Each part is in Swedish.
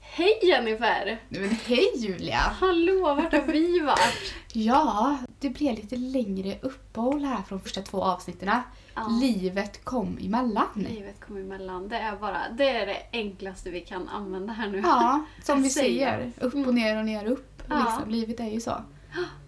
Hej Jennifer! Nej, Men hej Julia! Hallå, vart har vi varit? Ja, det blev lite längre uppehåll här från första två avsnitten. Livet kom emellan. Livet kom emellan. Det är bara det, är det enklaste vi kan använda här nu. Ja, som vi Säger. Mm. säger. Upp och ner och ner och upp. Ja. Liksom, livet är ju så.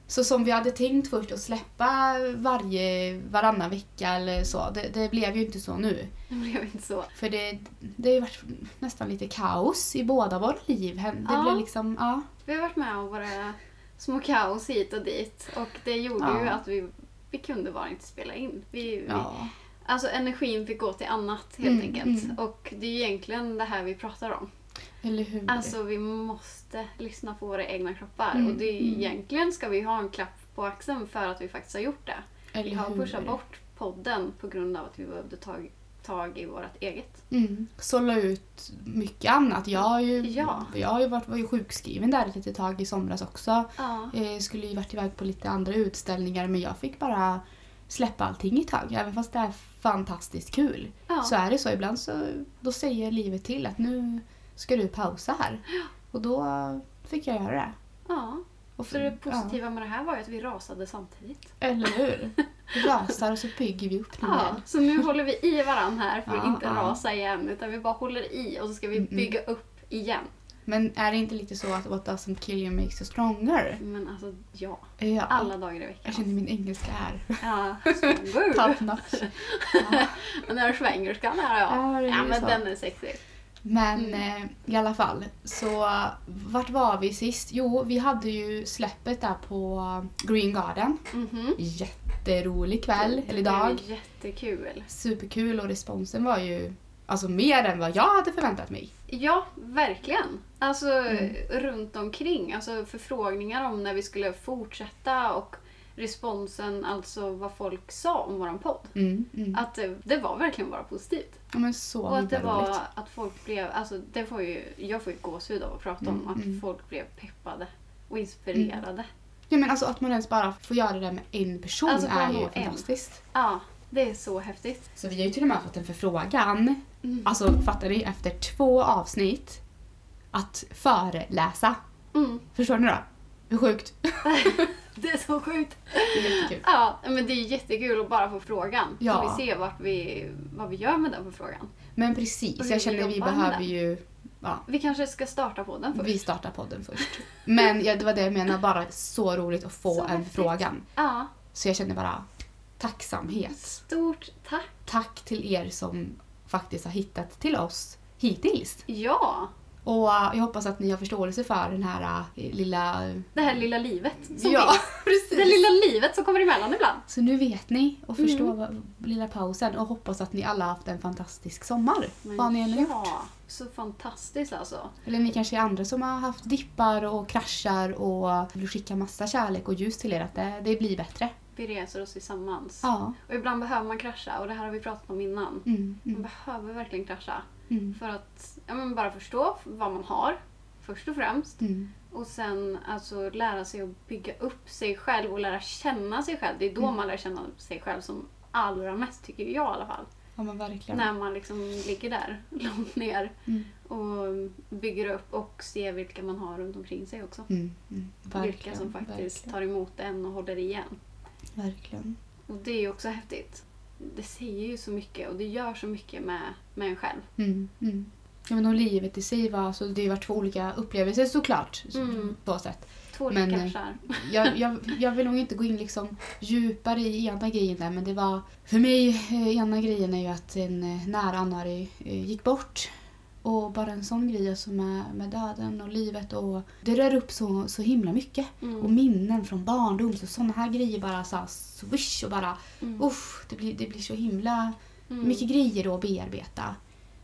Så som vi hade tänkt först att släppa varje, varannan vecka eller så, det, det blev ju inte så nu. Det blev inte så. För det, det har ju varit nästan lite kaos i båda våra liv. Det Ja. blev liksom, ja. Vi har varit med om våra små kaos hit och dit och det gjorde Ja. ju att vi, vi kunde bara inte spela in. Vi, vi, ja. alltså energin fick gå till annat helt Mm, enkelt. mm. Och det är ju egentligen det här vi pratar om. Eller hur? Alltså vi måste lyssna på våra egna kroppar Mm, och det är, mm. egentligen ska vi ha en klapp på axeln för att vi faktiskt har gjort det. Eller Vi har hur? pushat bort podden på grund av att vi behövde ta tag i vårt eget. Mm. Sålla ut mycket annat. Jag har ju, Ja. jag har ju varit, var ju sjukskriven där ett litet tag i somras också. Ja. Eh, skulle ju varit iväg på lite andra utställningar men jag fick bara släppa allting ett tag. Även fast det är fantastiskt kul Ja. så är det så. Ibland så då säger livet till att nu ska du pausa här. Och då fick jag göra det. ja. Och Så det positiva med det här var ju att vi rasade samtidigt. Ja, eller hur? Vi rasar och så bygger vi upp nu Ja. igen. Så nu håller vi i varandra här för att Ja, inte ja. rasa igen utan vi bara håller i och så ska vi Mm, mm. bygga upp igen. Men är det inte lite så att what doesn't kill you makes you stronger? Men alltså ja, Ja. alla dagar i veckan. Jag känner min engelska här. Ja, så Top notch. Den där svängelskan här Ja, ja. det är Ja ju men så. den Mm. är sexig. Men eh, i alla fall, så vart var vi sist? Jo, vi hade ju släppet där på Green Garden. Mhm. Jätterolig kväll, Det eller blev dag. Jättekul. Superkul och responsen var ju alltså mer än vad jag hade förväntat mig. Ja, verkligen. Alltså Mm. runt omkring. Alltså förfrågningar om när vi skulle fortsätta och responsen, alltså vad folk sa om våran podd. Mm, mm. Att det, det var verkligen bara positivt. Ja, men så och att det himla roligt. var att folk blev, alltså det får ju, jag får ju gåshud av att prata om Mm, att mm. folk blev peppade och inspirerade. Ja, men alltså att man ens bara får göra det där med en person Alltså, bara är nå ju en. fantastiskt. Ja, det är så häftigt. Så vi har ju till och med fått en förfrågan, Mm. alltså fattar ni, efter två avsnitt, att föreläsa. Mm. Förstår ni då? Hur sjukt? Det är så sjukt. Det är jättekul. Ja, men det är jättekul att bara få frågan. Ja. Så vi ser vart vi, vad vi gör med den förfrågan. Men Och precis, hur vi jag känner vi jobbar med behöver det. ju... Ja, Vi kanske ska starta podden först. vi startar podden först. Men ja, det var det jag menade, bara så roligt att få Så en häftigt. frågan. Ja, Så jag känner bara tacksamhet. stort tack. Tack till er som faktiskt har hittat till oss hittills. Ja, Och eh, jag hoppas att ni har förståelse för den här eh, lilla... det här lilla livet som ja, finns. precis. Det lilla Mm. livet som kommer emellan ibland. Så nu vet ni och förstår vad, lilla pausen och hoppas att ni alla har haft en fantastisk sommar. Vad ni än har gjort. ja, så fantastiskt alltså. Eller ni kanske är andra som har haft dippar och kraschar och vill skicka massa kärlek och ljus till er att det, det blir bättre. Vi reser oss tillsammans. Ja. Och ibland behöver man krascha och det här har vi pratat om innan. Mm, Man mm, behöver verkligen krascha. mm, För att ja, men bara förstå vad man har, först och främst. mm. Och sen alltså lära sig att bygga upp sig själv och lära känna sig själv. Det är då Mm. man lär känna sig själv som allra mest, tycker jag i alla fall. Ja men verkligen. När man liksom ligger där långt ner Mm. och bygger upp och ser vilka man har runt omkring sig också. Mm, mm, verkligen. vilka som faktiskt verkligen, tar emot en och håller igen. Verkligen. Och det är ju också häftigt. Det säger ju så mycket och det gör så mycket med, med en själv. Mm, mm. Ja men och livet i sig var, så det har ju varit två olika upplevelser såklart. så- Mm. På så sätt. Två olika Men, eh, kraschar. Jag, jag, jag vill nog inte gå in liksom djupare i ena grejen där men det var för mig eh, ena grejen är ju att en eh, nära anhörig eh, gick bort. Och bara en sån grej alltså med, med döden och livet och det rör upp så, så himla mycket. Mm. Och minnen från barndom så såna här grejer bara så här, swish och bara Mm. uff, det blir, det blir så himla Mm. mycket grejer då att bearbeta.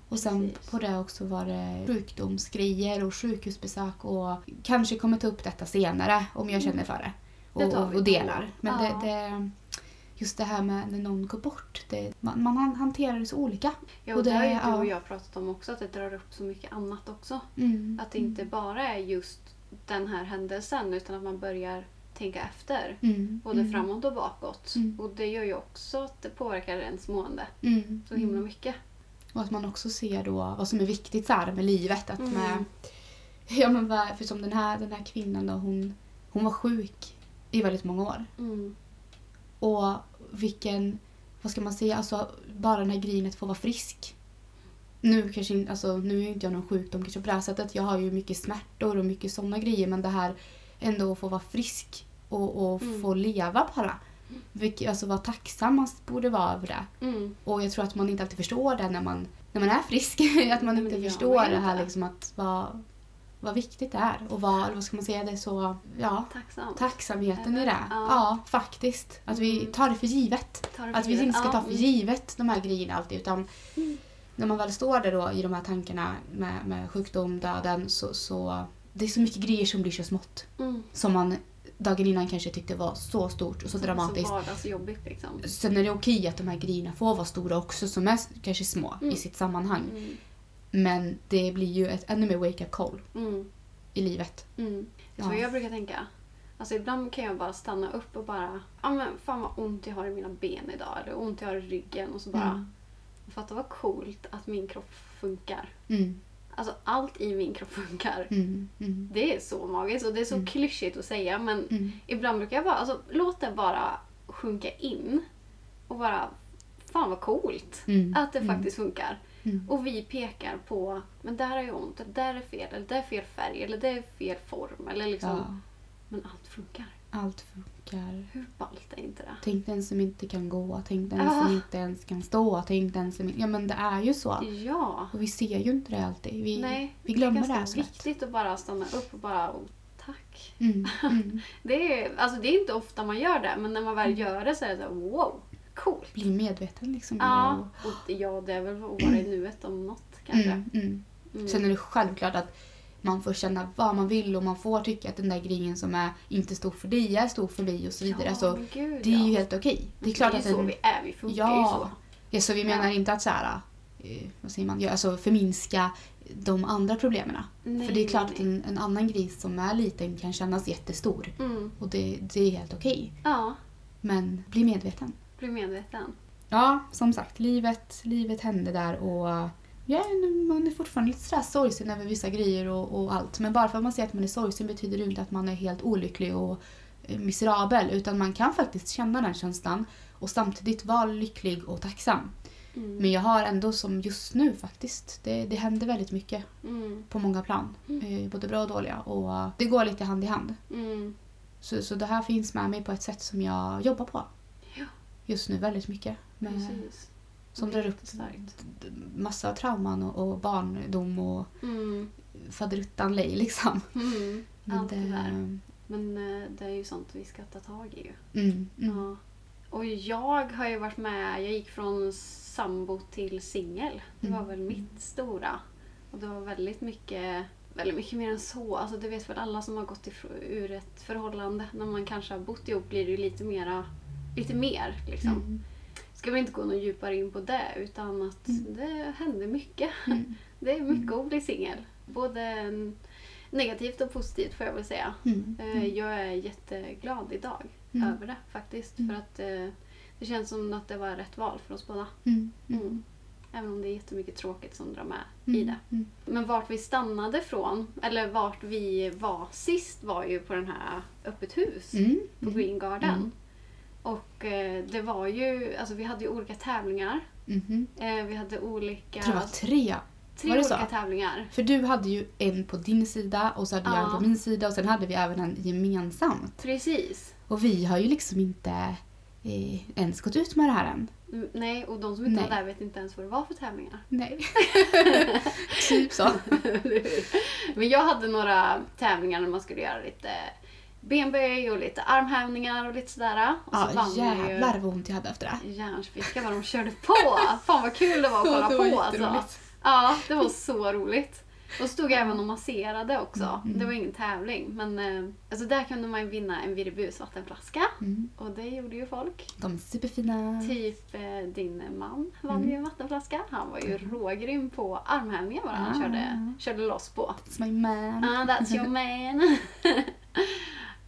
Och sen Precis. på det också var det sjukdomsgrejer och sjukhusbesök och kanske kommer ta upp detta senare om jag känner för det. Mm. Det Och, tar vi. och delar. Men Ja. det, det, just det här med när någon går bort, det, man, man han- hanterar det så olika. Ja, och och det, det- har ju du ja. och jag pratat om också, att det drar upp så mycket annat också. Mm. Att det inte bara är just den här händelsen utan att man börjar tänka efter. Mm. Både Mm. framåt och bakåt. Mm. Och det gör ju också att det påverkar ens mående Mm. så himla mycket. Och att man också ser då vad som är viktigt så här med livet. Att Mm. med Ja men vad- för som den här, den här kvinnan då, hon, hon var sjuk i väldigt många år. Mm. Och vilken, vad ska man säga, alltså bara när grinet får vara frisk. Nu kanske in- alltså, nu är ju inte jag någon sjukdom kanske på det här sättet. Jag har ju mycket smärtor och mycket sådana grejer. Men det här ändå att få vara frisk och, och Mm. få leva bara. Vilket, alltså vad tacksam man borde vara över det. Mm. Och jag tror att man inte alltid förstår det när man, när man är frisk. att man men det inte gör förstår man ju det här inte. liksom att vad, vad viktigt det är. Och vad, eller vad ska man säga, det är så, ja, Tacksam. tacksamheten i det. Ja. Ja, faktiskt. Att vi Mm. tar det för givet. Tar det för Att vi givet. inte ska Ja, ta för mm. givet de här grejerna alltid utan när man väl står där då i de här tankarna med, med sjukdom, döden så, så det är så mycket grejer som blir så smått. Mm. Som man dagen innan kanske tyckte var så stort och så dramatiskt. Så vardagsjobbigt liksom. Sen är det okej att de här grejerna får vara stora också som är s- kanske små Mm. i sitt sammanhang. Mm. Men det blir ju ett ännu mer wake-up call Mm. i livet. Mm. Det Ja. är vad jag brukar tänka. Alltså ibland kan jag bara stanna upp och bara, ja men fan vad ont jag har i mina ben idag eller ont jag har i ryggen och så bara, Mm. fatta vad coolt att min kropp funkar. Mm, Alltså allt i min kropp funkar. mm, mm, Det är så magiskt och det är så Mm. klyschigt att säga men mm. ibland brukar jag bara, alltså låt det bara sjunka in och bara, fan vad coolt Mm. att det Mm. faktiskt funkar. Mm. Och vi pekar på, men där har jag ont, eller där är fel, eller där är fel färg, eller där är fel form. Eller liksom. Ja, Men allt funkar. allt funkar. Hur ballt är inte det? Tänk den som inte kan gå, tänk den Ah. som inte ens kan stå, tänk den som Ja men det är ju så. Ja. Och vi ser ju inte det alltid. Vi, Nej, vi glömmer det det är här ganska så lätt. viktigt att bara stanna upp och bara "Oh, tack. Mm, mm. Det är, alltså, det är inte ofta man gör det, men när man väl gör det så är det så här, wow, coolt. Bli medveten liksom. Ja, och ja, det är väl att vara i nuet om något Och, kanske. mm, mm. Mm. Sen är det självklart att man får känna vad man vill och man får tycka att den där grejen som är inte stor för dig är stor för mig och så vidare. Ja, alltså, men gud, det är ju ja. Alltså, helt okej. Det är klart det är att ju så en, vi är, vi funkar ju Ja. så. Ja, så vi menar Ja. inte att så här, eh, vad säger man, ja, alltså förminska de andra problemen. Nej, För det är klart nej, att en, en annan gris som är liten kan kännas jättestor. Mm. Och det, det är helt okej. Ja, Men bli medveten. bli medveten. Ja, som sagt, livet, livet hände där och ja, nu- man är fortfarande lite sådär sorgsen över vissa grejer och, och allt. Men bara för att man säger att man är sorgsen betyder det inte att man är helt olycklig och eh, miserabel. Utan man kan faktiskt känna den känslan och samtidigt vara lycklig och tacksam. Mm. Men jag har ändå som just nu faktiskt, det, det händer väldigt mycket Mm. på många plan. Eh, både bra och dåliga. Och eh, det går lite hand i hand. Mm. Så, så det här finns med mig på ett sätt som jag jobbar på Ja, just nu väldigt mycket. Med, precis. som drar upp Starkt. d- massa trauman och, och barndom och Mm. faderuttan lej liksom. Mm. Men Allt det där. mm, Men eh, det är ju sånt vi ska ta tag i ju. mm, Ja. Och jag har ju varit med, jag gick från sambo till singel. Det var Mm. väl mitt stora. Och det var väldigt mycket, väldigt mycket mer än så. Alltså det vet väl alla som har gått ifrån, ur ett förhållande. När man kanske har bott ihop blir det ju lite mera, lite mer liksom. mm, Ska vi inte gå någon djupare in på det utan att det hände mycket. Mm. Det är mycket att bli singel. Både negativt och positivt får jag väl säga. mm, Eh, Jag är jätteglad idag Mm. över det faktiskt. Mm. För att eh, det känns som att det var rätt val för oss båda. mm, mm, Mm. Även om det är jättemycket tråkigt som drar med i mm, det. mm. Men vart vi stannade från, eller vart vi var sist var ju på den här Öppet hus Mm, på Green Garden. Mm. Och eh, det var ju, alltså vi hade ju olika tävlingar. mhm. Eh, vi hade olika, Jag tror det var tre. tre var det så? olika tävlingar. För du hade ju en på din sida och så hade jag en Ja. på min sida och sen hade vi även en gemensamt. Precis. Och vi har ju liksom inte eh, ens gått ut med det här än. Mm, Nej, och de som inte var Nej. där vet inte ens vad det var för tävlingar. Nej. typ så. Men jag hade några tävlingar när man skulle göra lite benböj och lite armhävningar och lite sådär. Och så Ja, jag ju jävlar vad ont jag hade efter det. järnspicka vad de körde på. Fan vad kul det var att kolla Ja, det var på alltså. jätteroligt. Ja, det var så roligt. Och stod jag även och masserade också. Mm. Det var ingen tävling. Men eh, alltså där kunde man ju vinna en Viribus vattenflaska. Mm. Och det gjorde ju folk. De är superfina. Typ eh, din man vann Mm. ju en vattenflaska. Han var ju rågrym på armhävningar bara. Han Ah. körde, körde loss på. It's my man. Ah, that's your man.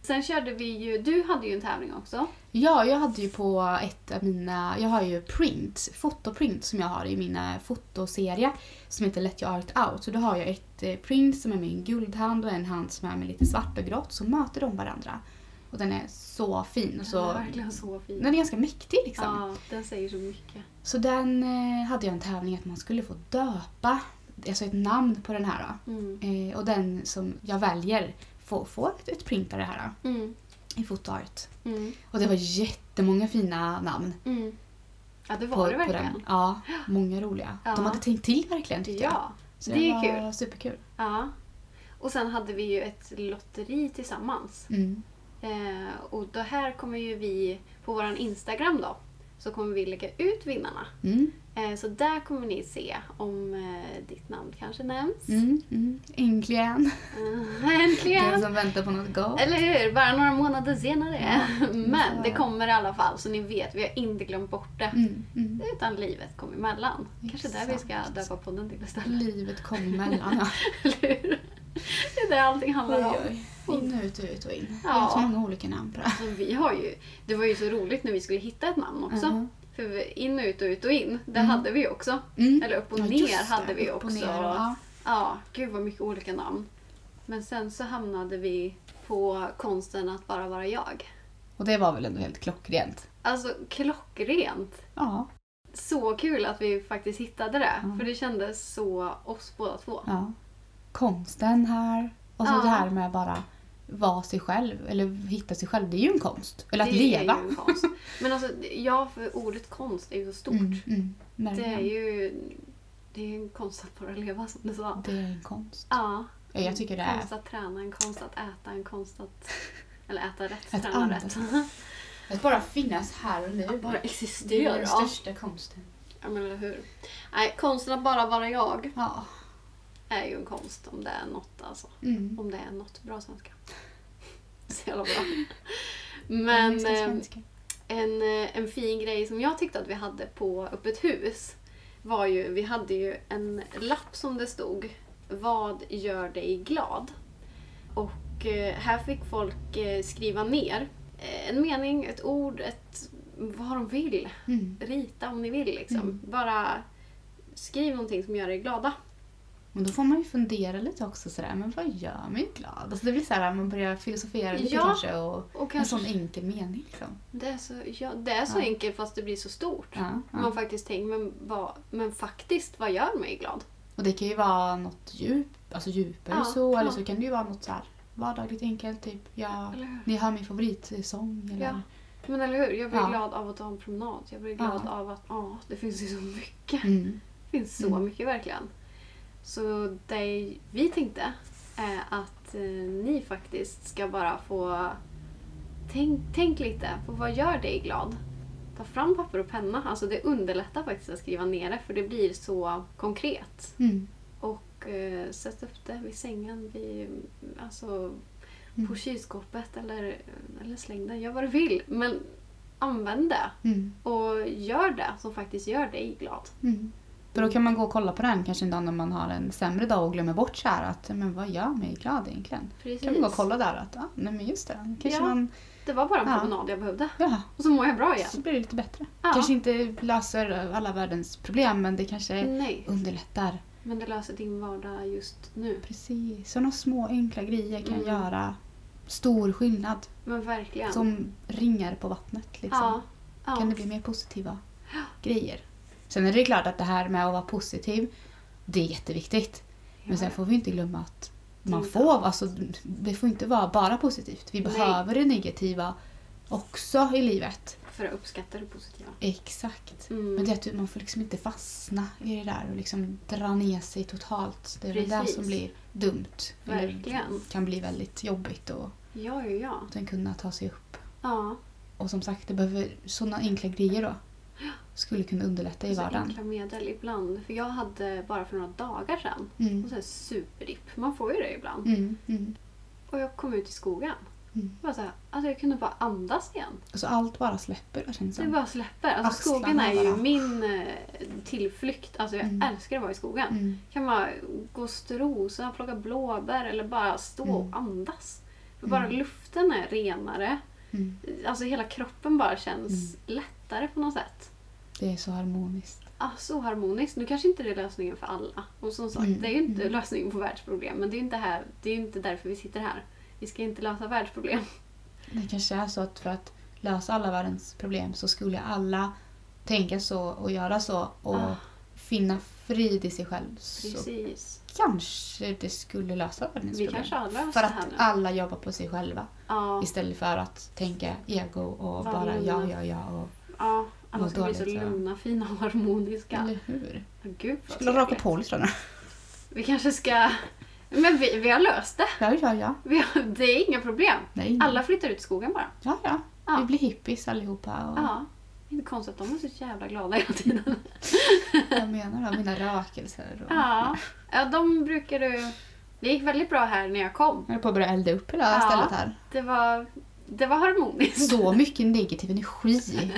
Sen körde vi ju, du hade ju en tävling också. Ja, jag hade ju på ett av mina, jag har ju print, fotoprint som jag har i mina fotoserie som heter Let your art out. Så då har jag ett eh, print som är med en guldhand och en hand som är med lite svart och grått så möter de varandra. Och den är så fin och Den så, var verkligen så fin. den är ganska mäktig liksom. Ja, den säger så mycket. Så den eh, hade jag en tävling att man skulle få döpa, alltså ett namn på den här. Då. Mm. Eh, och den som jag väljer får, får ett, ett print av det här Mm. då, i fotoart. Mm. Och det var jättemånga fina namn. Mm. Ja, det var det verkligen. Ja, många roliga. Ja. De hade tänkt till verkligen tyckte jag. Ja, Så det är var kul. Superkul. Ja. Och sen hade vi ju ett lotteri tillsammans. Mm. Eh, och det här kommer ju vi, på vår Instagram då, så kommer vi lägga ut vinnarna. Mm. Eh, så där kommer ni se om eh, ditt namn kanske nämns. Mm. Mm. Äntligen. Eh, Den äntligen! som väntar på något gott. Eller hur? Bara några månader senare. Men så. det kommer i alla fall, så ni vet, vi har inte glömt bort det. Mm. Mm. Utan livet kom emellan. Kanske där vi ska Exakt. döpa podden till istället. Livet kom emellan. Ja. Eller hur? Det är det allting handlar om. Oj, oj. In och ut, ut och in. Det Ja. är så många olika namn på det. Alltså, vi har ju, det var ju så roligt när vi skulle hitta ett namn också. Mhm. För vi- in och ut och ut och in, det Mm. hade vi också. Mm. Eller upp och Ja, ner just det. hade vi Upp och också. ner, ja. Ja, gud vad mycket olika namn. Men sen så hamnade vi på konsten att bara vara jag. Och det var väl ändå helt klockrent. Alltså klockrent! Ja. Så kul att vi faktiskt hittade det. Mm. För det kändes så oss båda två. ja. Konsten här. Och så Ja. det här med bara vara sig själv. Eller hitta sig själv. Det är ju en konst. Eller att det leva. är ju en konst. Men alltså, ja, för ordet konst är ju så stort. Mm, mm. Det Verkligen. är ju det är ju en konst att bara leva som du sa. Det är en konst. Ja. Mm. Ja, jag tycker det är. Konst att träna, en konst att äta, en konst att... Eller äta rätt, Att träna andas. rätt. Att bara finnas här och nu. Att bara det är existera. den största konsten. Ja, men eller hur. Nej, konsten att bara vara jag Ja. är ju en konst om det är något alltså. Mm. Om det är något bra svenska. Så jävla bra. Men Det är eh, svenska. en, eh, en fin grej som jag tyckte att vi hade på öppet hus var ju, vi hade ju en lapp som det stod Vad gör dig glad? Och eh, här fick folk eh, skriva ner eh, en mening, ett ord, ett, vad de vill. Mm. Rita om ni vill liksom. Mm. Bara skriv någonting som gör er glada. Men då får man ju fundera lite också sådär, men vad gör mig glad? Alltså det blir såhär, man börjar filosofera lite Ja. kanske och Och en kanske, sån enkel mening liksom. det är så, ja, det är så Ja. enkelt fast det blir så stort. Ja, Man ja. faktiskt tänker, men, vad, men faktiskt, vad gör mig glad? Och det kan ju vara något djup, alltså djupare Ja, så, eller ja. så kan det ju vara något såhär vardagligt enkelt, typ jag, Eller hur? ni hör min favoritsång eller Ja. Men eller hur, jag blir Ja. glad av att ta en promenad. Jag blir glad Ja. av att, ja, det finns ju så mycket. mm. Det finns så Mm. mycket verkligen. Så det vi tänkte är att eh, ni faktiskt ska bara få tänk, tänk lite på vad gör dig glad? Ta fram papper och penna. Alltså det underlättar faktiskt att skriva ner det för det blir så konkret. Mm. Och eh, sätt upp det vid sängen, vid, alltså, på Mm. kylskåpet eller, eller släng det. Gör vad du vill. Men använd det Mm. och gör det som faktiskt gör dig glad. Mm. För då kan man gå och kolla på den kanske en dag när man har en sämre dag och glömmer bort så här att men vad gör mig glad egentligen? Precis. Då kan man gå och kolla där att ja, nej men just det, kanske Ja. man, Det var bara en Ja. promenad jag behövde. ja, Och så mår jag bra igen. så blir det lite bättre. Ja. Kanske inte löser alla världens problem men det kanske Nej, underlättar. men det löser din vardag just nu. Precis, sådana små enkla grejer kan Mm. göra stor skillnad. Men verkligen. Som ringar på vattnet liksom. ja. Ja. kan det bli mer positiva grejer. Sen är det klart att det här med att vara positiv, det är jätteviktigt. Men sen får vi inte glömma att man Mm. får, alltså, det får inte vara bara positivt. Vi Nej. behöver det negativa också i livet. För att uppskatta det positiva. Exakt. Mm. Men det är att du- man får liksom inte fastna i det där och liksom dra ner sig totalt. Det är väl det Precis. som blir dumt. Eller Verkligen. kan bli väldigt jobbigt och Ja, ja, ja. sen kunna ta sig upp. ja. Och som sagt, det behöver sådana enkla grejer då. Skulle kunna underlätta i Så vardagen. enkla medel ibland. För jag hade bara för några dagar sedan Mm. och så här superdipp. Man får ju det ibland. Mm, mm. Och jag kom ut i skogen. Mm. Det var så här, alltså jag kunde bara andas igen. Alltså allt bara släpper det känns Det som. bara släpper. Alltså Axlarna skogen är ju bara. min eh, tillflykt. Alltså jag Mm. älskar att vara i skogen. Mm. kan man gå och strosa, plocka blåbär eller bara stå Mm. och andas. För bara luften är renare. Mm. Alltså hela kroppen bara känns lättare på något sätt. Det är så harmoniskt. Ah, så harmoniskt. Nu kanske inte det är lösningen för alla. Och som sagt, Mm, det är ju inte lösningen på världsproblem. Men det är ju inte, här, det är ju inte därför vi sitter här. Vi ska inte lösa världsproblem. Det kanske är så att för att lösa alla världens problem så skulle alla tänka så och göra så och Ah. finna frid i sig själv. Så Precis. kanske det skulle lösa världens Vi problem. kanske har löst För det här att nu. alla jobbar på sig själva Ja, istället för att tänka ego och Vad bara lugna. ja, ja, ja. Och, ja, alla Vad ska bli så dåligt, ja. lugna, fina och harmoniska. Eller hur? Åh, Gud vad Skulle raka trevligt. på lite då. Vi kanske ska... Men vi, vi har löst det. Ja, ja, ja. Vi har... Det är inga problem. Nej. Alla flyttar ut i skogen bara. Ja, ja. Ja. Vi blir hippies allihopa. Och Ja. Inte konstigt att de är så jävla glada hela tiden. Jag menar då, mina rökelser. Och... Ja. ja, de brukar du... Det gick väldigt bra här när jag kom. Jag höll på att börja elda upp hela Ja. stället här. Det var, det var harmoniskt. Så mycket negativ energi.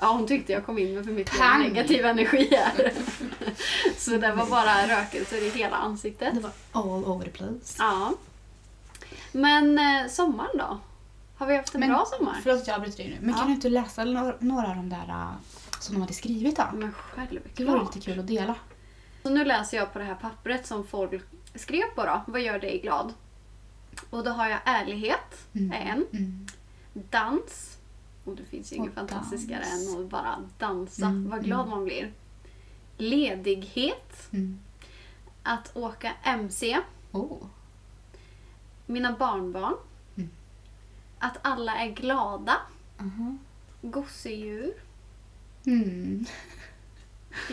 Ja, hon tyckte jag kom in med för mycket Pang! negativ energi här. Så det var bara rökelser i hela ansiktet. Det var all over the place. Ja. Men eh, sommaren då? Har vi haft en bra sommar? Förlåt att jag avbryter dig nu. Men Ja. kan du inte läsa några, några av de där äh, som de hade skrivit då? Men Det vore självklart. lite kul att dela. Så nu läser jag på det här pappret som folk skrev på då. Vad gör dig glad? Och då har jag ärlighet, Mm. är en. Mm. Dans. Och det finns ju Och inget fantastiskare dans. än att bara dansa. Mm, Vad glad mm. man blir. Ledighet. Mm. Att åka MC. Oh. Mina barnbarn. Mm. Att alla är glada. Aha. Gosedjur. Mm.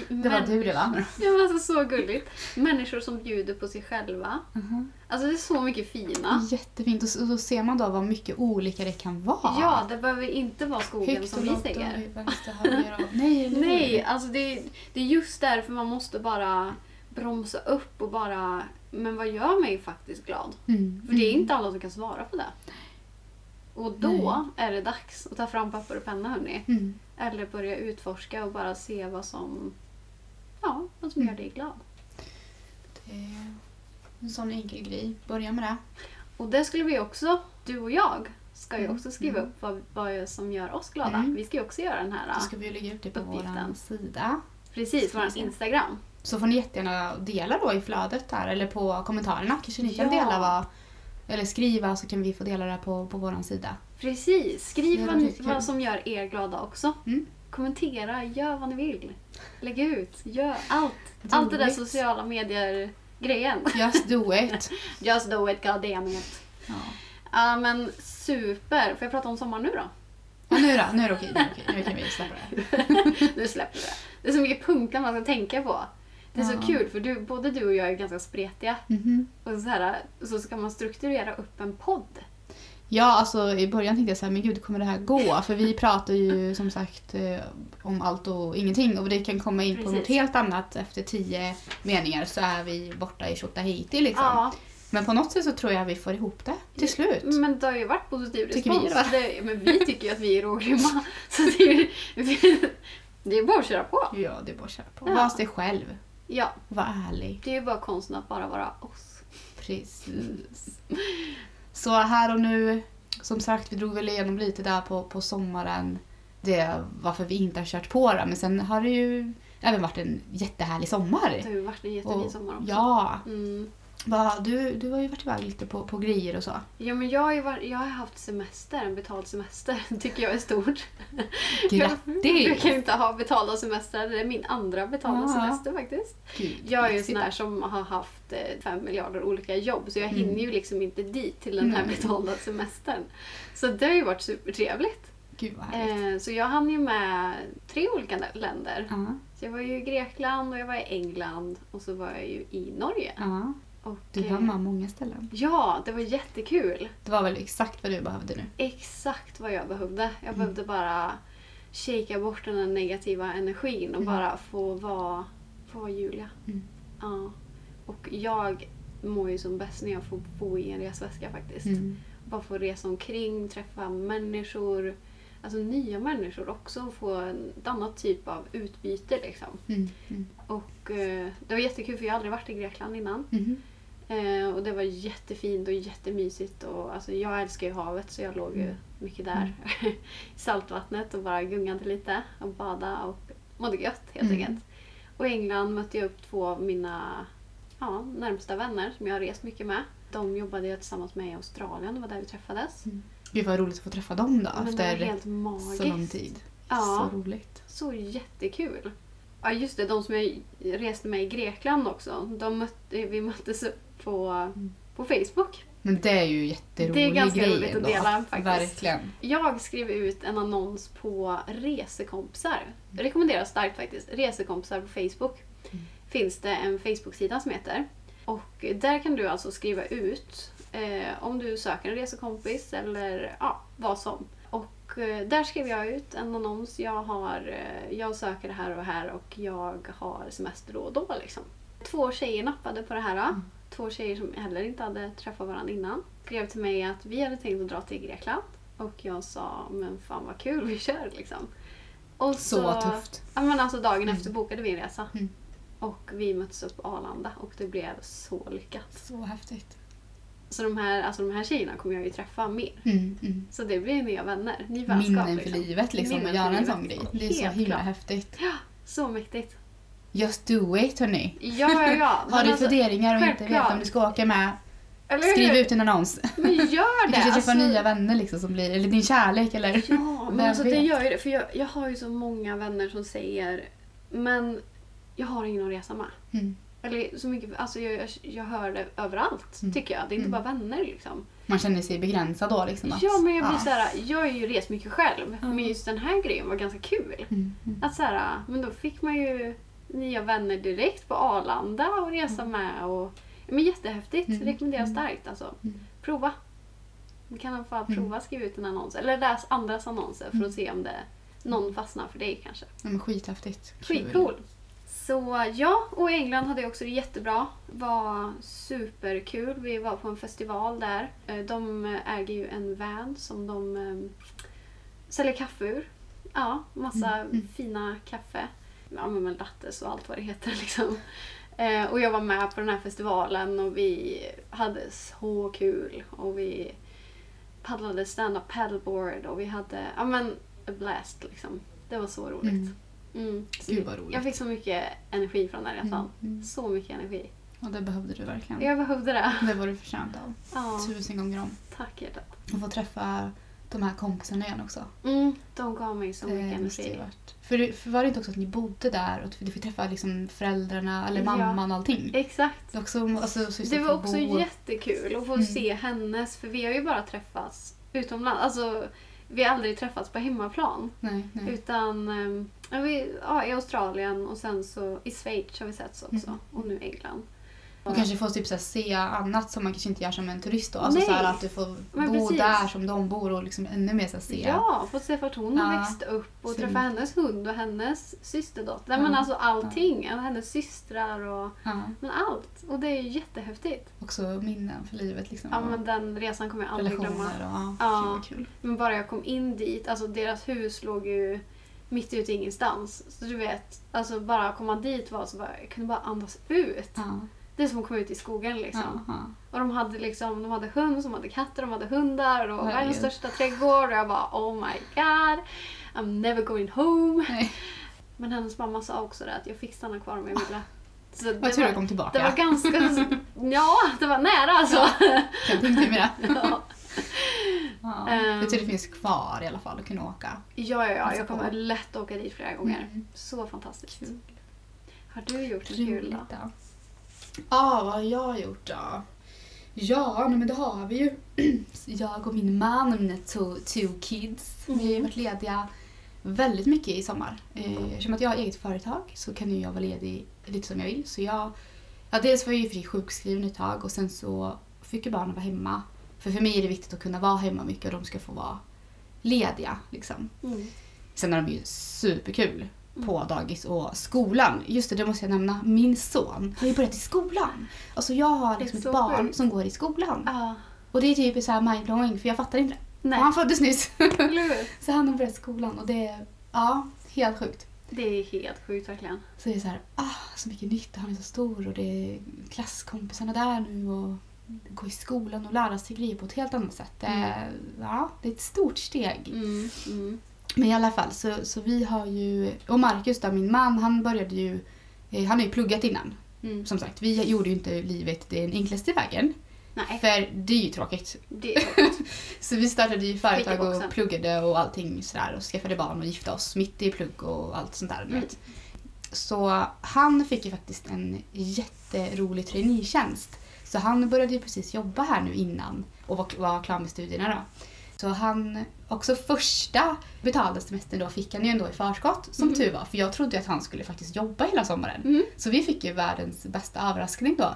Det var Män- du det va? Ja, men alltså, så gulligt. Människor som bjuder på sig själva. Aha. Alltså det är så mycket fina. Jättefint. Och så, och så ser man då vad mycket olika det kan vara. Ja, det behöver inte vara skogen Högt och som vi lågt och säger. vänster, höger och... Nej, eller hur? Nej, alltså det, det är just därför man måste bara bromsa upp och bara... Men vad gör mig faktiskt glad? Mm. För det är mm. inte alla som kan svara på det. Och då är det dags att ta fram papper och penna hörni. Mm. Eller börja utforska och bara se vad som... Ja, vad som Mm. gör dig glad. Det är en sån enkel grej. Börja med det. Och det skulle vi också, du och jag, ska ju Mm. också skriva upp vad, vad som gör oss glada. Mm. Vi ska ju också göra den här, Då ska vi ju lägga ut det på vår Uppgiften. sida. precis, vi vår se. Instagram. Så får ni jättegärna dela då i flödet där eller på kommentarerna. Kanske ni kan Ja. dela vad, eller skriva så kan vi få dela det på, på vår sida. Precis, skriv Det vad, hade ni, varit kul. vad som gör er glada också. Mm. Kommentera, gör vad ni vill. Lägg ut, gör allt. Do allt det där it. sociala medier-grejen. Just do it! Just do it, god damn it. ja. Ja men super, får jag prata om sommar nu då? Och nu då, nu är det okej. Nu, är det okej. nu kan vi släppa det. nu släpper vi det. Det är så mycket punkter man ska tänka på. Det är Ja. så kul för du, både du och jag är ganska spretiga. Mhm. Och så, här, så ska man strukturera upp en podd. Ja, alltså i början tänkte jag så här, men gud kommer det här gå? För vi pratar ju som sagt eh, om allt och ingenting och det kan komma in på Precis. något helt annat efter tio meningar så är vi borta i Tjotahejti liksom. Men på något sätt så tror jag vi får ihop det till slut. Men det har ju varit positiv Tycker respons. vi, va? det, men vi tycker ju att vi är rågrymma. Så det är, ju- vi, det är bara att köra på. Ja, det är bara att köra på. Ja. Var sig själv. Ja, Var ärlig. det är ju bara konsten att bara vara oss. Precis. Så här och nu, som sagt, vi drog väl igenom lite där på, på sommaren. Det varför vi inte har kört på det. Men sen har det ju även varit en jättehärlig Det har sommar. ju varit en jättefin sommar också. ja, Mm. va, du, du har ju varit iväg lite på, på grejer och så. Ja, men jag, har ju varit, jag har haft semester, en betald semester. tycker jag är stort. Jag Grattis! brukar inte ha betalda semestrar. Det är min andra betalda Ja. semester faktiskt. Gud, Jag är ju en lyxigt. sån här som har haft eh, fem miljarder olika jobb så jag Mm. hinner ju liksom inte dit till den här Nej. betalda semestern. Så det har ju varit supertrevligt. Gud vad härligt. Eh, så jag hann ju med tre olika lä- länder. Ja, Så jag var ju i Grekland och jag var i England och så var jag ju i Norge. ja. Och, Du eh, var med många ställen. Ja, det var jättekul. Det var väl exakt vad du behövde nu. Exakt vad jag behövde. Jag Mm. behövde bara shakea bort den här negativa energin och Mm. bara få vara, få vara Julia. Mm. Ja. Och jag mår ju som bäst när jag får bo i en resväska faktiskt. Mm. Bara få resa omkring, träffa människor, alltså nya människor också och få en ett annat typ av utbyte liksom. Mm. Mm. Och eh, det var jättekul för jag har aldrig varit i Grekland innan. Mhm. Eh, och det var jättefint och jättemysigt. Och, alltså, jag älskar ju havet så jag låg ju Mm. mycket där i saltvattnet och bara gungade lite och badade och mådde gött helt Mm. enkelt. Och i England mötte jag upp två av mina ja, närmsta vänner som jag har rest mycket med. De jobbade jag tillsammans med i Australien, det var där vi träffades. Gud vad roligt att få träffa dem då Men det var efter helt magiskt. Mm. så lång tid. Ja. Så roligt. Så jättekul. Ja just det, de som jag reste med i Grekland också. De mötte, vi möttes upp på, Mm. på Facebook. Men det är ju jätterolig Det är ganska grej roligt att ändå. dela, faktiskt. Verkligen. Jag skrev ut en annons på resekompisar. Jag rekommenderar starkt faktiskt. Resekompisar på Facebook. Finns det en Facebook-sida som heter. Och där kan du alltså skriva ut eh, om du söker en resekompis eller ja, vad som. Och eh, där skrev jag ut en annons. Jag, har, eh, jag söker det här och här och jag har semester då och då. Liksom. Två tjejer nappade på det här. Mm. Två tjejer som heller inte hade träffat varandra innan. Skrev till mig att vi hade tänkt att dra till Grekland. Och jag sa, men fan vad kul, vi kör liksom. Och Så tufft. Ja, men alltså dagen efter bokade vi en resa. Mm. Och vi möttes upp på Arlanda och det blev så lyckat. Så häftigt. Så de här, alltså de här tjejerna kommer jag ju träffa mer. Mm, mm. Så det blir nya vänner, ny vänskap. Minnen för liksom. livet liksom, Minnen att för göra en livet. sån grej. Det är så Helt himla klart. häftigt. Så mäktigt. Just do it hörni. Ja, ja, ja. Har Men du alltså, funderingar och inte vet självklart. om du ska åka med, eller skriv hur? ut en annons. Men gör Du det! kanske träffar alltså. nya vänner liksom som blir, eller din kärlek eller... Ja, men Vem alltså det vet? gör ju det. För jag, jag har ju så många vänner som säger men jag har ingen att resa med. Mm. Eller så mycket, alltså jag, jag, jag hör det överallt Mm. tycker jag. Det är inte bara vänner liksom. Man känner sig begränsad då liksom. att- Ja, men jag blir så här, jag har ju rest mycket själv. Ja. Men just den här grejen var ganska kul. Mm, mm. Att så här, men då fick man ju nya vänner direkt på Arlanda och resa med. Och, men jättehäftigt, Mm. rekommenderar starkt alltså. Mm. Prova. Man kan i alla fall prova skriva ut en annons. Eller läs andras annonser Mm. för att se om det någon fastnar för dig kanske. Ja, men skithäftigt. Kul. Skitcool. Så ja, och i England hade jag också det jättebra. var superkul. Vi var på en festival där. Eh, De äger ju en van som de eh, säljer kaffe ur. Ja, massa fina kaffe. Ja, men med lattes och allt vad det heter liksom. Eh, Och jag var med på den här festivalen och vi hade så kul. Och vi paddlade stand-up paddleboard och vi hade, ja men, a blast liksom. Det var så roligt. Mm. Mm. Gud, vad roligt. Jag fick så mycket energi från den resan. Mm, mm. Så mycket energi. Och det behövde du verkligen. Jag behövde det. Det var du förtjänt av. Ja, Tusen gånger om. tack hjärtat. Och få träffa de här kompisarna igen också. Mm, de gav mig så mycket Eh, Det måste ju energi. varit- För, för var det inte också att ni bodde där och att du fick träffa liksom föräldrarna eller Ja. mamman och allting? Exakt. Det, också, alltså, så just Det att var få också bo- jättekul att få Mm. se hennes, för vi har ju bara träffats utomlands. Alltså, vi har aldrig träffats på hemmaplan. Nej, nej. Utan ehm, ja, vi, ja, i Australien och sen så i Schweiz har vi setts också. Mm. Och nu England. Och kanske få typ, såhär, se annat som man kanske inte gör som en turist då. Alltså, Nej. såhär, att du får Men bo precis. där som de bor och liksom ännu mer såhär, se. Ja, fått se vart hon har Ja. växt upp och Så träffa mycket. hennes hund och hennes systerdotter. Ja. Men alltså allting. Hennes systrar och Ja. men allt. Och det är ju jättehäftigt. Också minnen för livet liksom. Ja, och men den resan kommer jag aldrig glömma. relationer och ja, Ja. Gud, vad kul. Men bara jag kom in dit, alltså deras hus låg ju mitt ute i ingenstans. Så du vet, alltså bara komma dit var så bara, jag kunde bara andas ut. Ja, Det är som att komma ut i skogen liksom. ja, ja. Och de hade liksom, de hade höns, de hade katter, de hade hundar och Herregud. världens största trädgård. Och jag bara oh my god, I'm never going home. Nej. Men hennes mamma sa också det att jag fick stanna kvar om jag ville. Så det, Vad tur jag var, kom tillbaka. det var ganska, ja det var nära alltså. Jag tänkte med det. Ja. Ja. Ehm. Jag tror det finns kvar i alla fall att kunna åka. Ja, ja, ja. Passa Jag kommer på. lätt åka dit flera gånger. Mm. Så fantastiskt. Kul. Har du gjort något kul Roligt då? Ja, ah, vad har jag gjort då? Ja, nej, men det har vi ju. Jag och min man och mina two, two kids. Vi har ju Mm. varit lediga väldigt mycket i sommar. Eh, eftersom att jag har eget företag så kan ju jag vara ledig lite som jag vill. Så jag, ja, dels var jag ju fri sjukskriven ett tag och sen så fick ju barnen vara hemma. För för mig är det viktigt att kunna vara hemma mycket och de ska få vara lediga. Liksom. Mm. Sen är de ju superkul på dagis och skolan. Just det, det måste jag nämna. Min son har ju börjat i skolan. Alltså jag har liksom Det är ett så barn sjukt. som går i skolan. Ja, Och det är typ så här mindblowing för jag fattar inte det. Nej. Och han föddes nyss. eller hur? så han har börjat skolan och det är, ja, helt sjukt. Det är helt sjukt verkligen. Så det är så här, ah, så mycket nytta, han är så stor och det är klasskompisarna där nu och gå i skolan och lära sig grejer på ett helt annat sätt. Det, ja, det är ett stort steg. Mm, mm, Men i alla fall, så, så vi har ju... Och Marcus då, min man, han började ju... eh, Han har ju pluggat innan. mm. Som sagt, vi gjorde ju inte livet den enklaste vägen. Nej, För det är ju tråkigt. det är Så vi startade ju Skit i företag boxen. och pluggade och allting sådär och skaffade barn och gifte oss mitt i plugg och allt sånt Mm. där. du vet. Så han fick ju faktiskt en jätterolig traineetjänst. Så han började ju precis jobba här nu innan och var, var klar med studierna då. Så han, också första betalda semestern då fick han ju ändå i förskott som tur var. För jag trodde ju att han skulle faktiskt jobba hela sommaren. Mm. Så vi fick ju världens bästa överraskning då.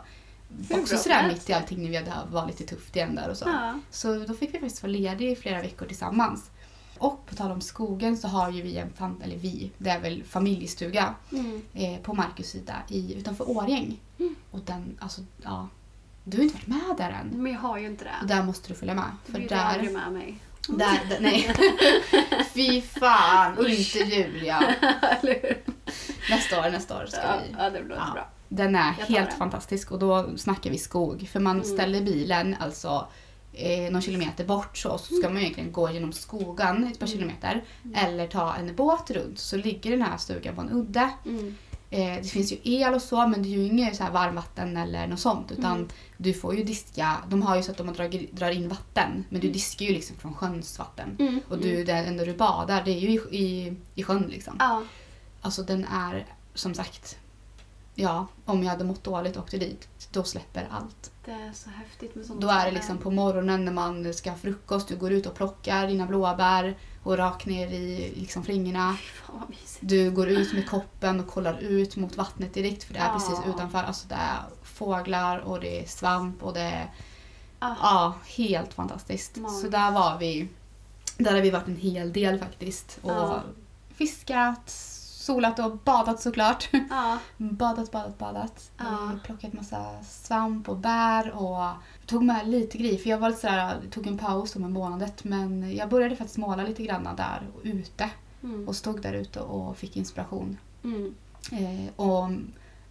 Hur Också bra som sådär helst. mitt i allting när vi hade var lite tufft igen där och så. Ja. Så då fick vi faktiskt vara lediga i flera veckor tillsammans. Och på tal om skogen så har ju vi en, fan- eller vi, det är väl familjestuga Mm. eh, på Markus sida i, utanför Årjäng. Och den, alltså ja. Du har inte varit med där än. Men jag har ju inte Och det. där måste du följa med. För Du är där, aldrig med mig. där, där, nej. Fy fan, inte Julia. Eller hur? Nästa år, nästa år ska Ja, vi. ja, det blir Ja. bra. Den är Jag tar helt den. Mm. fantastisk och då snackar vi skog. För man ställer bilen alltså eh, någon kilometer bort så, och så ska man egentligen gå genom skogen ett par Mm. kilometer. Eller ta en båt runt så ligger den här stugan på en udde. Mm. Eh, det finns ju el och så men det är ju inget så här varmvatten eller något sånt utan Mm. du får ju diska. De har ju så att de drar, drar in vatten men du diskar ju liksom från sjöns vatten. Mm. Och du, det enda du badar det är ju i, i, i sjön liksom. Ja. Alltså den är som sagt, ja, om jag hade mått dåligt och åkte dit, då släpper allt. Det är så häftigt med sånt. Då är det liksom på morgonen när man ska ha frukost, du går ut och plockar dina blåbär och rakt ner i liksom flingorna. Fan vad mysigt. Du går ut med koppen och kollar ut mot vattnet direkt för det är Ja. precis utanför. Alltså det är fåglar och det är svamp och det är Ja. ja, helt fantastiskt. Magiskt. Så där var vi. Där har vi varit en hel del faktiskt. Och Ja. fiskat, solat och badat såklart. Ja. Badat, badat, badat. Ja. Eh, Plockat massa svamp och bär och tog med lite grejer. För jag var lite sådär, tog en paus om en månadet men jag började faktiskt måla lite grann där och ute. Mm. Och stod där ute och fick inspiration. Mm. Eh, och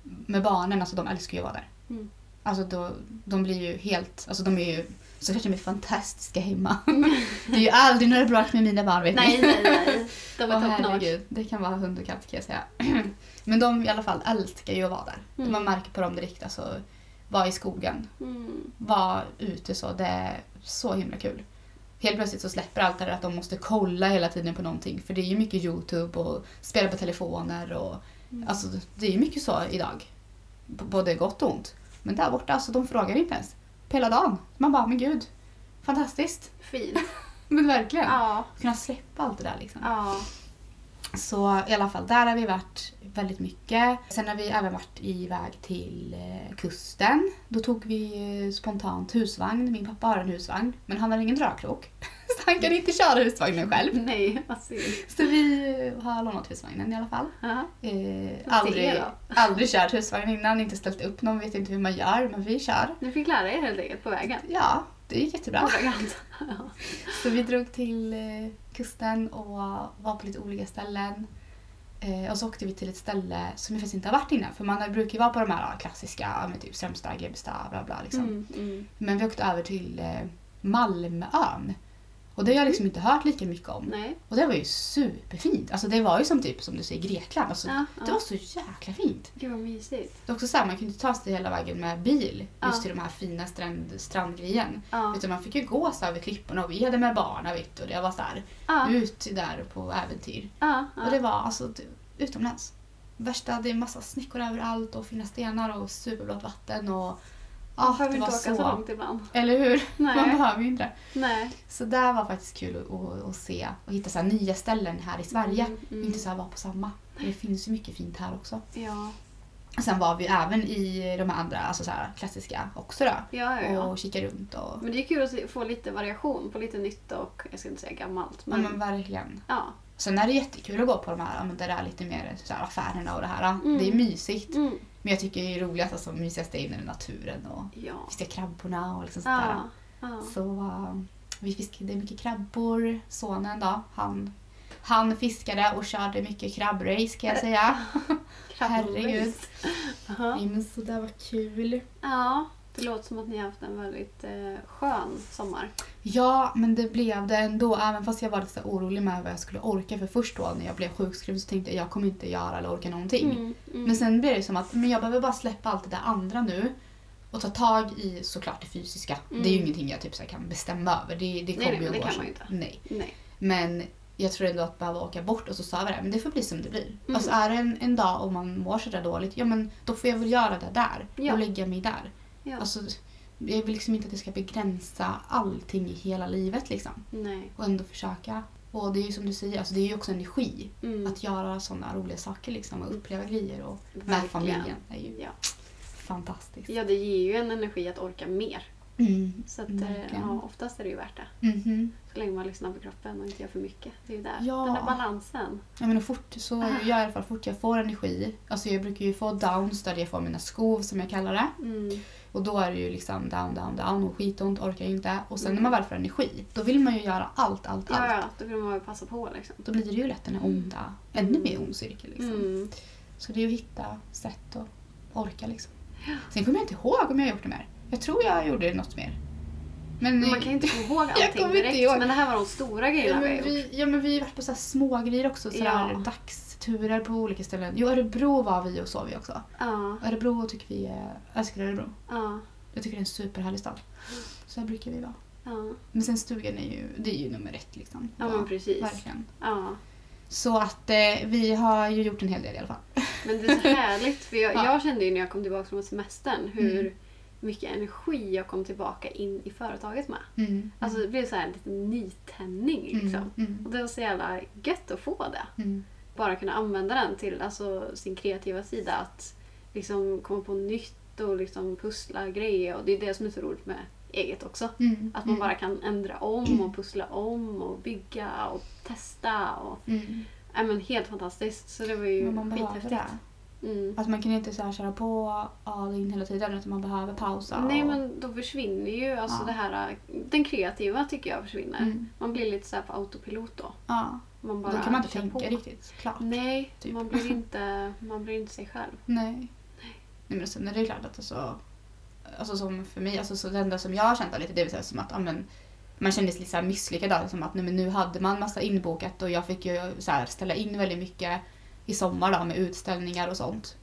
med barnen, alltså de älskar ju att vara där. Mm. Alltså då, de blir ju helt, alltså de är ju såklart de är fantastiska hemma. det är ju aldrig några bråk med mina barn vet ni. Nej, nej, nej. De Åh, är top notch. herregud, det kan vara hund och katt kan jag säga. Men de i alla fall älskar ju att vara där. Mm. Man märker på dem direkt. Alltså, vara i skogen, Mm. vara ute så. Det är så himla kul. Helt plötsligt så släpper allt det där att de måste kolla hela tiden på någonting. För det är ju mycket Youtube och spela på telefoner och Mm. alltså det är ju mycket så idag. B- Både gott och ont. Men där borta, alltså de frågar inte ens. På hela dagen. Man bara, men gud. Fantastiskt. Fint. Men verkligen. Ja. Kunna släppa allt det där liksom. Ja. Så i alla fall, där har vi varit väldigt mycket. Sen har vi även varit iväg till eh, kusten. Då tog vi eh, spontant husvagn. Min pappa har en husvagn, men han har ingen dragkrok. Så han kan inte köra husvagnen själv. Nej, vad synd. Så vi eh, har lånat husvagnen i alla fall. Ja. Eh, Vad aldrig, det aldrig kört husvagn innan, inte ställt upp någon, vet inte hur man gör, men vi kör. Ni fick lära er helt enkelt på vägen. Ja, det gick jättebra. Ordagrant. Ja. Så vi drog till eh, kusten och var på lite olika ställen. Eh, och så åkte vi till ett ställe som vi faktiskt inte har varit innan. För man brukar ju vara på de här ja, klassiska, ja, men typ Strömstad, Grebbestad, bla bla. Liksom. Mm. Mm. Men vi åkte över till eh, Malmön. Och det har jag liksom inte hört lika mycket om. Mm. Nej. Och det var ju superfint. Alltså det var ju som typ som du säger Grekland. Alltså, Ja, det ja. var så jäkla fint. Gud vad mysigt. Det är också så här, man kunde inte ta sig hela vägen med bil just Ja. till de här fina strand, strandgrejen. Ja. Utan man fick ju gå så här över klipporna och vi hade med barnen vet du, och det var så här Ja. ut där på äventyr. Ja. ja. Mm. Och det var alltså t- utomlands. Värsta, det är massa snickor överallt och fina stenar och superblått vatten och... Man Ja, behöver det inte var åka så. så... långt ibland. Eller hur? Man Nej. behöver ju inte det. Nej. Så där var faktiskt kul att, att, att se och hitta så här nya ställen här i Sverige. Mm, mm. Inte så här vara på samma. För Det finns ju mycket fint här också. Ja. Och sen var vi även i de här andra, alltså så här klassiska också då. Ja, ja, ja. Mm. Och kikade runt och... Men det är kul att se- få lite variation på lite nytt och, jag ska inte säga gammalt, Ja, men men verkligen. ja. Sen är det jättekul att gå på de här, ja, men där det är lite mer så här, affärerna och det här. Mm. Det är mysigt. Mm. Men jag tycker det är roligast, alltså mysigast är inne i naturen och Ja. fiska krabborna och liksom sånt Ja. där. ja. Så eh, vi fiskade mycket krabbor. Sonen då, han, Han fiskade och körde mycket krabbrace kan jag säga. Herregud. Jaha. Nej men så där var kul. Ja, det låter som att ni har haft en väldigt eh, skön sommar. Ja, men det blev det ändå. Även fast jag var lite så här orolig med vad jag skulle orka. För först då när jag blev sjukskriven så tänkte jag jag kommer inte göra eller orka någonting. mm. Men sen blev det som att men jag behöver bara släppa allt det där andra nu. Och ta tag i såklart det fysiska. Mm. Det är ju ingenting jag typ så här kan bestämma över. Det, nej, det kommer ju men och det går kan så. man ju inte. Nej. Nej. Men jag tror ändå att behöva åka bort och så sa vi det, men det får bli som det blir. Mm. Alltså är det en, en dag och man mår sådär dåligt, ja men då får jag väl göra det där Ja. och lägga mig där. Ja. Alltså, jag vill liksom inte att det ska begränsa allting i hela livet liksom. Nej. Och ändå försöka. Och det är ju som du säger, alltså det är ju också energi Mm. att göra sådana roliga saker liksom och uppleva grejer och med Verkligen. familjen. Det är ju Ja. fantastiskt. ja, det ger ju en energi att orka mer. Mm. Så att, eh, Verkligen. ja, oftast är det ju värt det. Mhm. Så länge man lyssnar på kroppen och inte gör för mycket. Det är ju där. Ja. Den där balansen. Ja, men och fort, så Ah. jag i alla fall fort jag får energi. Alltså jag brukar ju få downs där jag får mina skov som jag kallar det. Mm. Och då är det ju liksom down, down, down och skitont, orkar inte. Och sen när man väl får energi, då vill man ju göra allt, allt, allt. Ja, ja, då vill man väl passa på liksom. Då blir det ju lätt den här onda, ännu mer ond cirkel liksom. Mm. Så det är ju att hitta sätt att orka liksom. Sen kommer jag inte ihåg om jag har gjort det mer. Jag tror jag gjorde något mer. Men, Man kan ju inte komma ihåg Jag allting kommer inte direkt. ihåg. Men det här var de stora Ja grejerna vi men, har gjort. vi, ja men vi har varit på så här små grejer också, så Ja. där dagsturer på olika ställen. Jo Örebro var vi och sov vi också. Ja, Örebro tycker vi är, jag älskar Örebro. ja, Jag tycker det är en superhärlig stad. Så här brukar vi vara. ja. Men sen stugan är ju, det är ju nummer ett liksom. Ja, men precis. Verkligen. ja. Så att eh, vi har ju gjort en hel del i alla fall. Men det är så härligt. För jag, Ja. jag kände ju när jag kom tillbaka från semestern hur Mm. mycket energi jag kom tillbaka in i företaget med. Mm. Alltså det blev så här en liten nytändning liksom. Mm. Mm. Och det var så jävla gött att få det. Mm. Bara kunna använda den till alltså, sin kreativa sida. Att liksom komma på nytt och liksom pussla grejer. Och det är det som är så roligt med eget också. Mm. Att man bara kan ändra om och pussla om och bygga och testa. Och, Mm. ja, men helt fantastiskt. Så det var ju Men man behöver skithäftigt. det. Mm. Att man kan inte så här köra på all in hela tiden utan man behöver pausa. Nej och... men då försvinner ju alltså Alltså. Ja. det här, den kreativa tycker jag försvinner. Mm. Man blir lite så här på autopilot då. Ja. Man bara Då kan man inte kör tänka på. Mm. riktigt klart. Nej, typ. man, blir inte, man blir inte sig själv. Nej. Nej men sen är det ju klart att alltså, alltså som för mig, alltså så det enda som jag har känt av lite det är väl så här som att ja, men, man kändes lite så här misslyckad av det, som att nej, men nu hade man massa inbokat och jag fick ju så här ställa in väldigt mycket i sommar då med utställningar och sånt.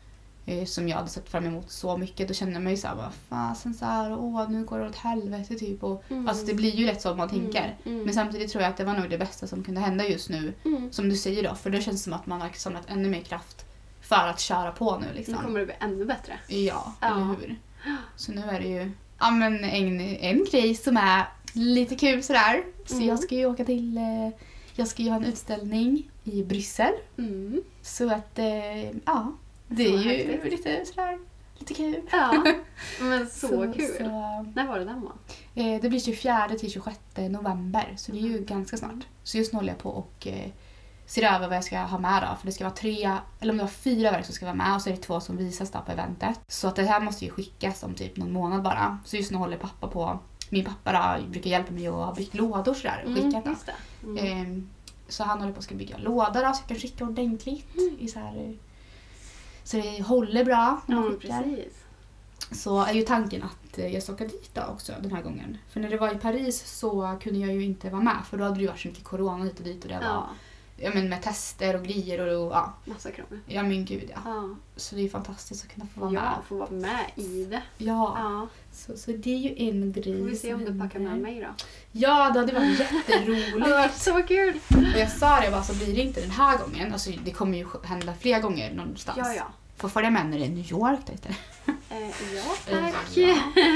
eh, Som jag hade sett fram emot så mycket. Då kände man ju såhär, vad fasen såhär, åh nu går det åt helvete typ. Och, Mm. Alltså det blir ju lätt så man Mm, tänker. mm. Men samtidigt tror jag att det var nog det bästa som kunde hända just nu. Mm. Som du säger då, för då känns det som att man har liksom samlat ännu mer kraft för att köra på nu liksom. Nu kommer det bli ännu bättre. Ja, Ja. eller hur? Så nu är det ju ja, men en, en grej som är lite kul sådär. Så Mm. jag ska ju åka till, eh, jag ska ju ha en utställning i Bryssel. Mm. Så att, eh, ja, det är Så ju häftigt. lite sådär, lite kul. Ja, men så, kul. så, När var det den var? eh, det blir 24 till 26 november, så det är ju ganska snart. Så just nu håller jag på och eh, ser över vad jag ska ha med då. För det ska vara tre, eller om det var fyra verk som ska vara med och så är det två som visas då på eventet. Så att det här måste ju skickas om typ någon månad bara. Så just nu håller pappa på, min pappa då, brukar hjälpa mig att ha byggt lådor sådär och skickat då. just det. Mm. Ehm, så han håller på att ska bygga en låda då, så jag kan skicka ordentligt. Mm. I så, här, eh, så det håller bra när ja, man men skickar precis. så är ju tanken att eh, jag ska åka dit då också den här gången. För när det var i Paris så kunde jag ju inte vara med för då hade det ju varit så mycket corona hit och dit och det var Ja, ja, men med tester och grejer och, och ja. massa krångel. ja men gud ja. Ja, Så det är ju fantastiskt att kunna få vara ja med. får vara med i det. Ja, Ja, så, så det är ju en grej. får vi se som om du packar med händer. mig då. Ja, det hade varit jätteroligt. Ja, så kul! och jag sa det jag bara så blir det inte den här gången. Alltså det kommer ju hända fler gånger någonstans. Ja, ja. Får följa med när det är New York då istället. Eh, ja, Ja. tack.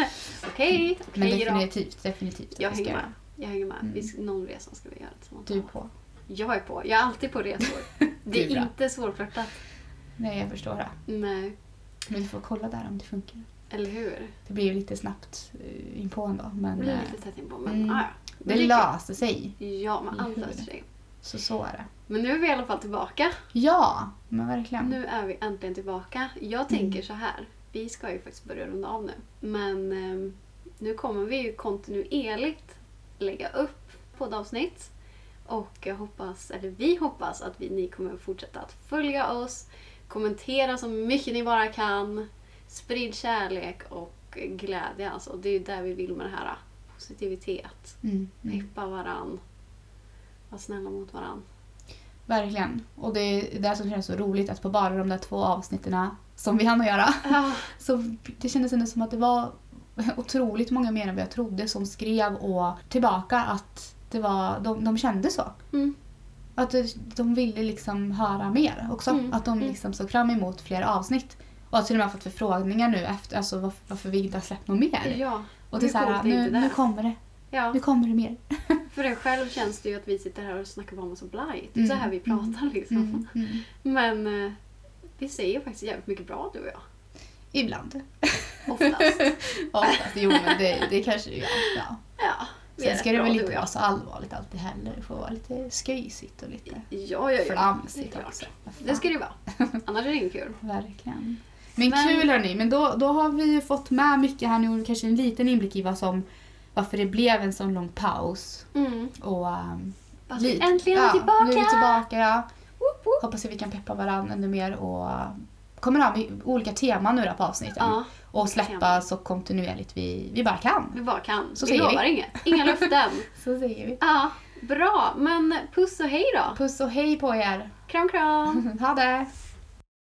Okej, Men okej då. definitivt, definitivt. att Jag vi ska hänger göra. med. Jag hänger med. Mm. Typ. Vi ska, någon resa ska vi göra tillsammans. Du på. Jag är på. Jag är alltid på resor. Det Det är är bra. inte svårflörtat. Nej, jag förstår det. Nej, Men vi får kolla där om det funkar. eller hur? Det blir ju lite snabbt eh, inpå ändå. Men Det blir eh, lite tätt inpå men Mm. ah, ja. Men det är löser sig. kul. Ja, man I allt huvudet. löser sig. Så så är det. Men nu är vi i alla fall tillbaka. Ja, men verkligen. Nu är vi äntligen tillbaka. Mm. Jag tänker så här. Vi ska ju faktiskt börja runda av nu. Men ehm, nu kommer vi ju kontinuerligt lägga upp poddavsnitt. Och jag hoppas, eller vi hoppas att vi, ni kommer fortsätta att följa oss, kommentera så mycket ni bara kan, sprid kärlek och glädje. Alltså, det är ju där vi vill med det här. eh, Positivitet, Mm. Mm. peppa varann, vara snälla mot varann. Verkligen. Och det är det som känns så roligt att på bara de där två avsnitten som vi hann att göra Ja, så det kändes ändå som att det var otroligt många mer än vad jag trodde som skrev och tillbaka att det var, de, de kände så. mm. Att det- de ville liksom höra mer också. Mm, Att de mm. liksom såg fram emot fler avsnitt. Och att till och med har fått förfrågningar nu efter alltså varför, varför vi inte har släppt något mer. ja. och det är hur coolt såhär, är inte nu, det? nu kommer det. ja. Nu kommer det mer. För en själv känns det ju att vi sitter här och snackar bara om massa blaj. Det är Mm, så här vi pratar liksom. Mm, mm. Men eh, vi säger faktiskt jävligt mycket bra du och jag. Ibland. Oftast. Oftast, jo men det, det kanske ja, ja. ja, vi är Sen rätt ska det bra, väl du och inte jag. vara så allvarligt alltid heller. Det får vara lite sköjsigt och lite Ja, ja, ja. flamsigt det är klart. också. Vad fan. Det ska det vara. Annars är det inte kul. Verkligen. Men, Men- kul hörni, men då, då har vi ju fått med mycket här nu och kanske en liten inblick i vad som, varför det blev en sån lång paus. Mm. Och, ehm, Fast li- vi äntligen är ja, tillbaka! Nu är vi tillbaka ja. Woop, woop. Hoppas att vi kan peppa varandra ännu mer och kommer ha med olika teman nu då på avsnitten. Ja, och släppa teman. så kontinuerligt vi, vi bara kan. vi bara kan. Så vi säger vi. lovar inget. Inga löften. Så säger vi. Ja, bra. Men puss och hej då. Puss och hej på er! Kram, kram. ha det!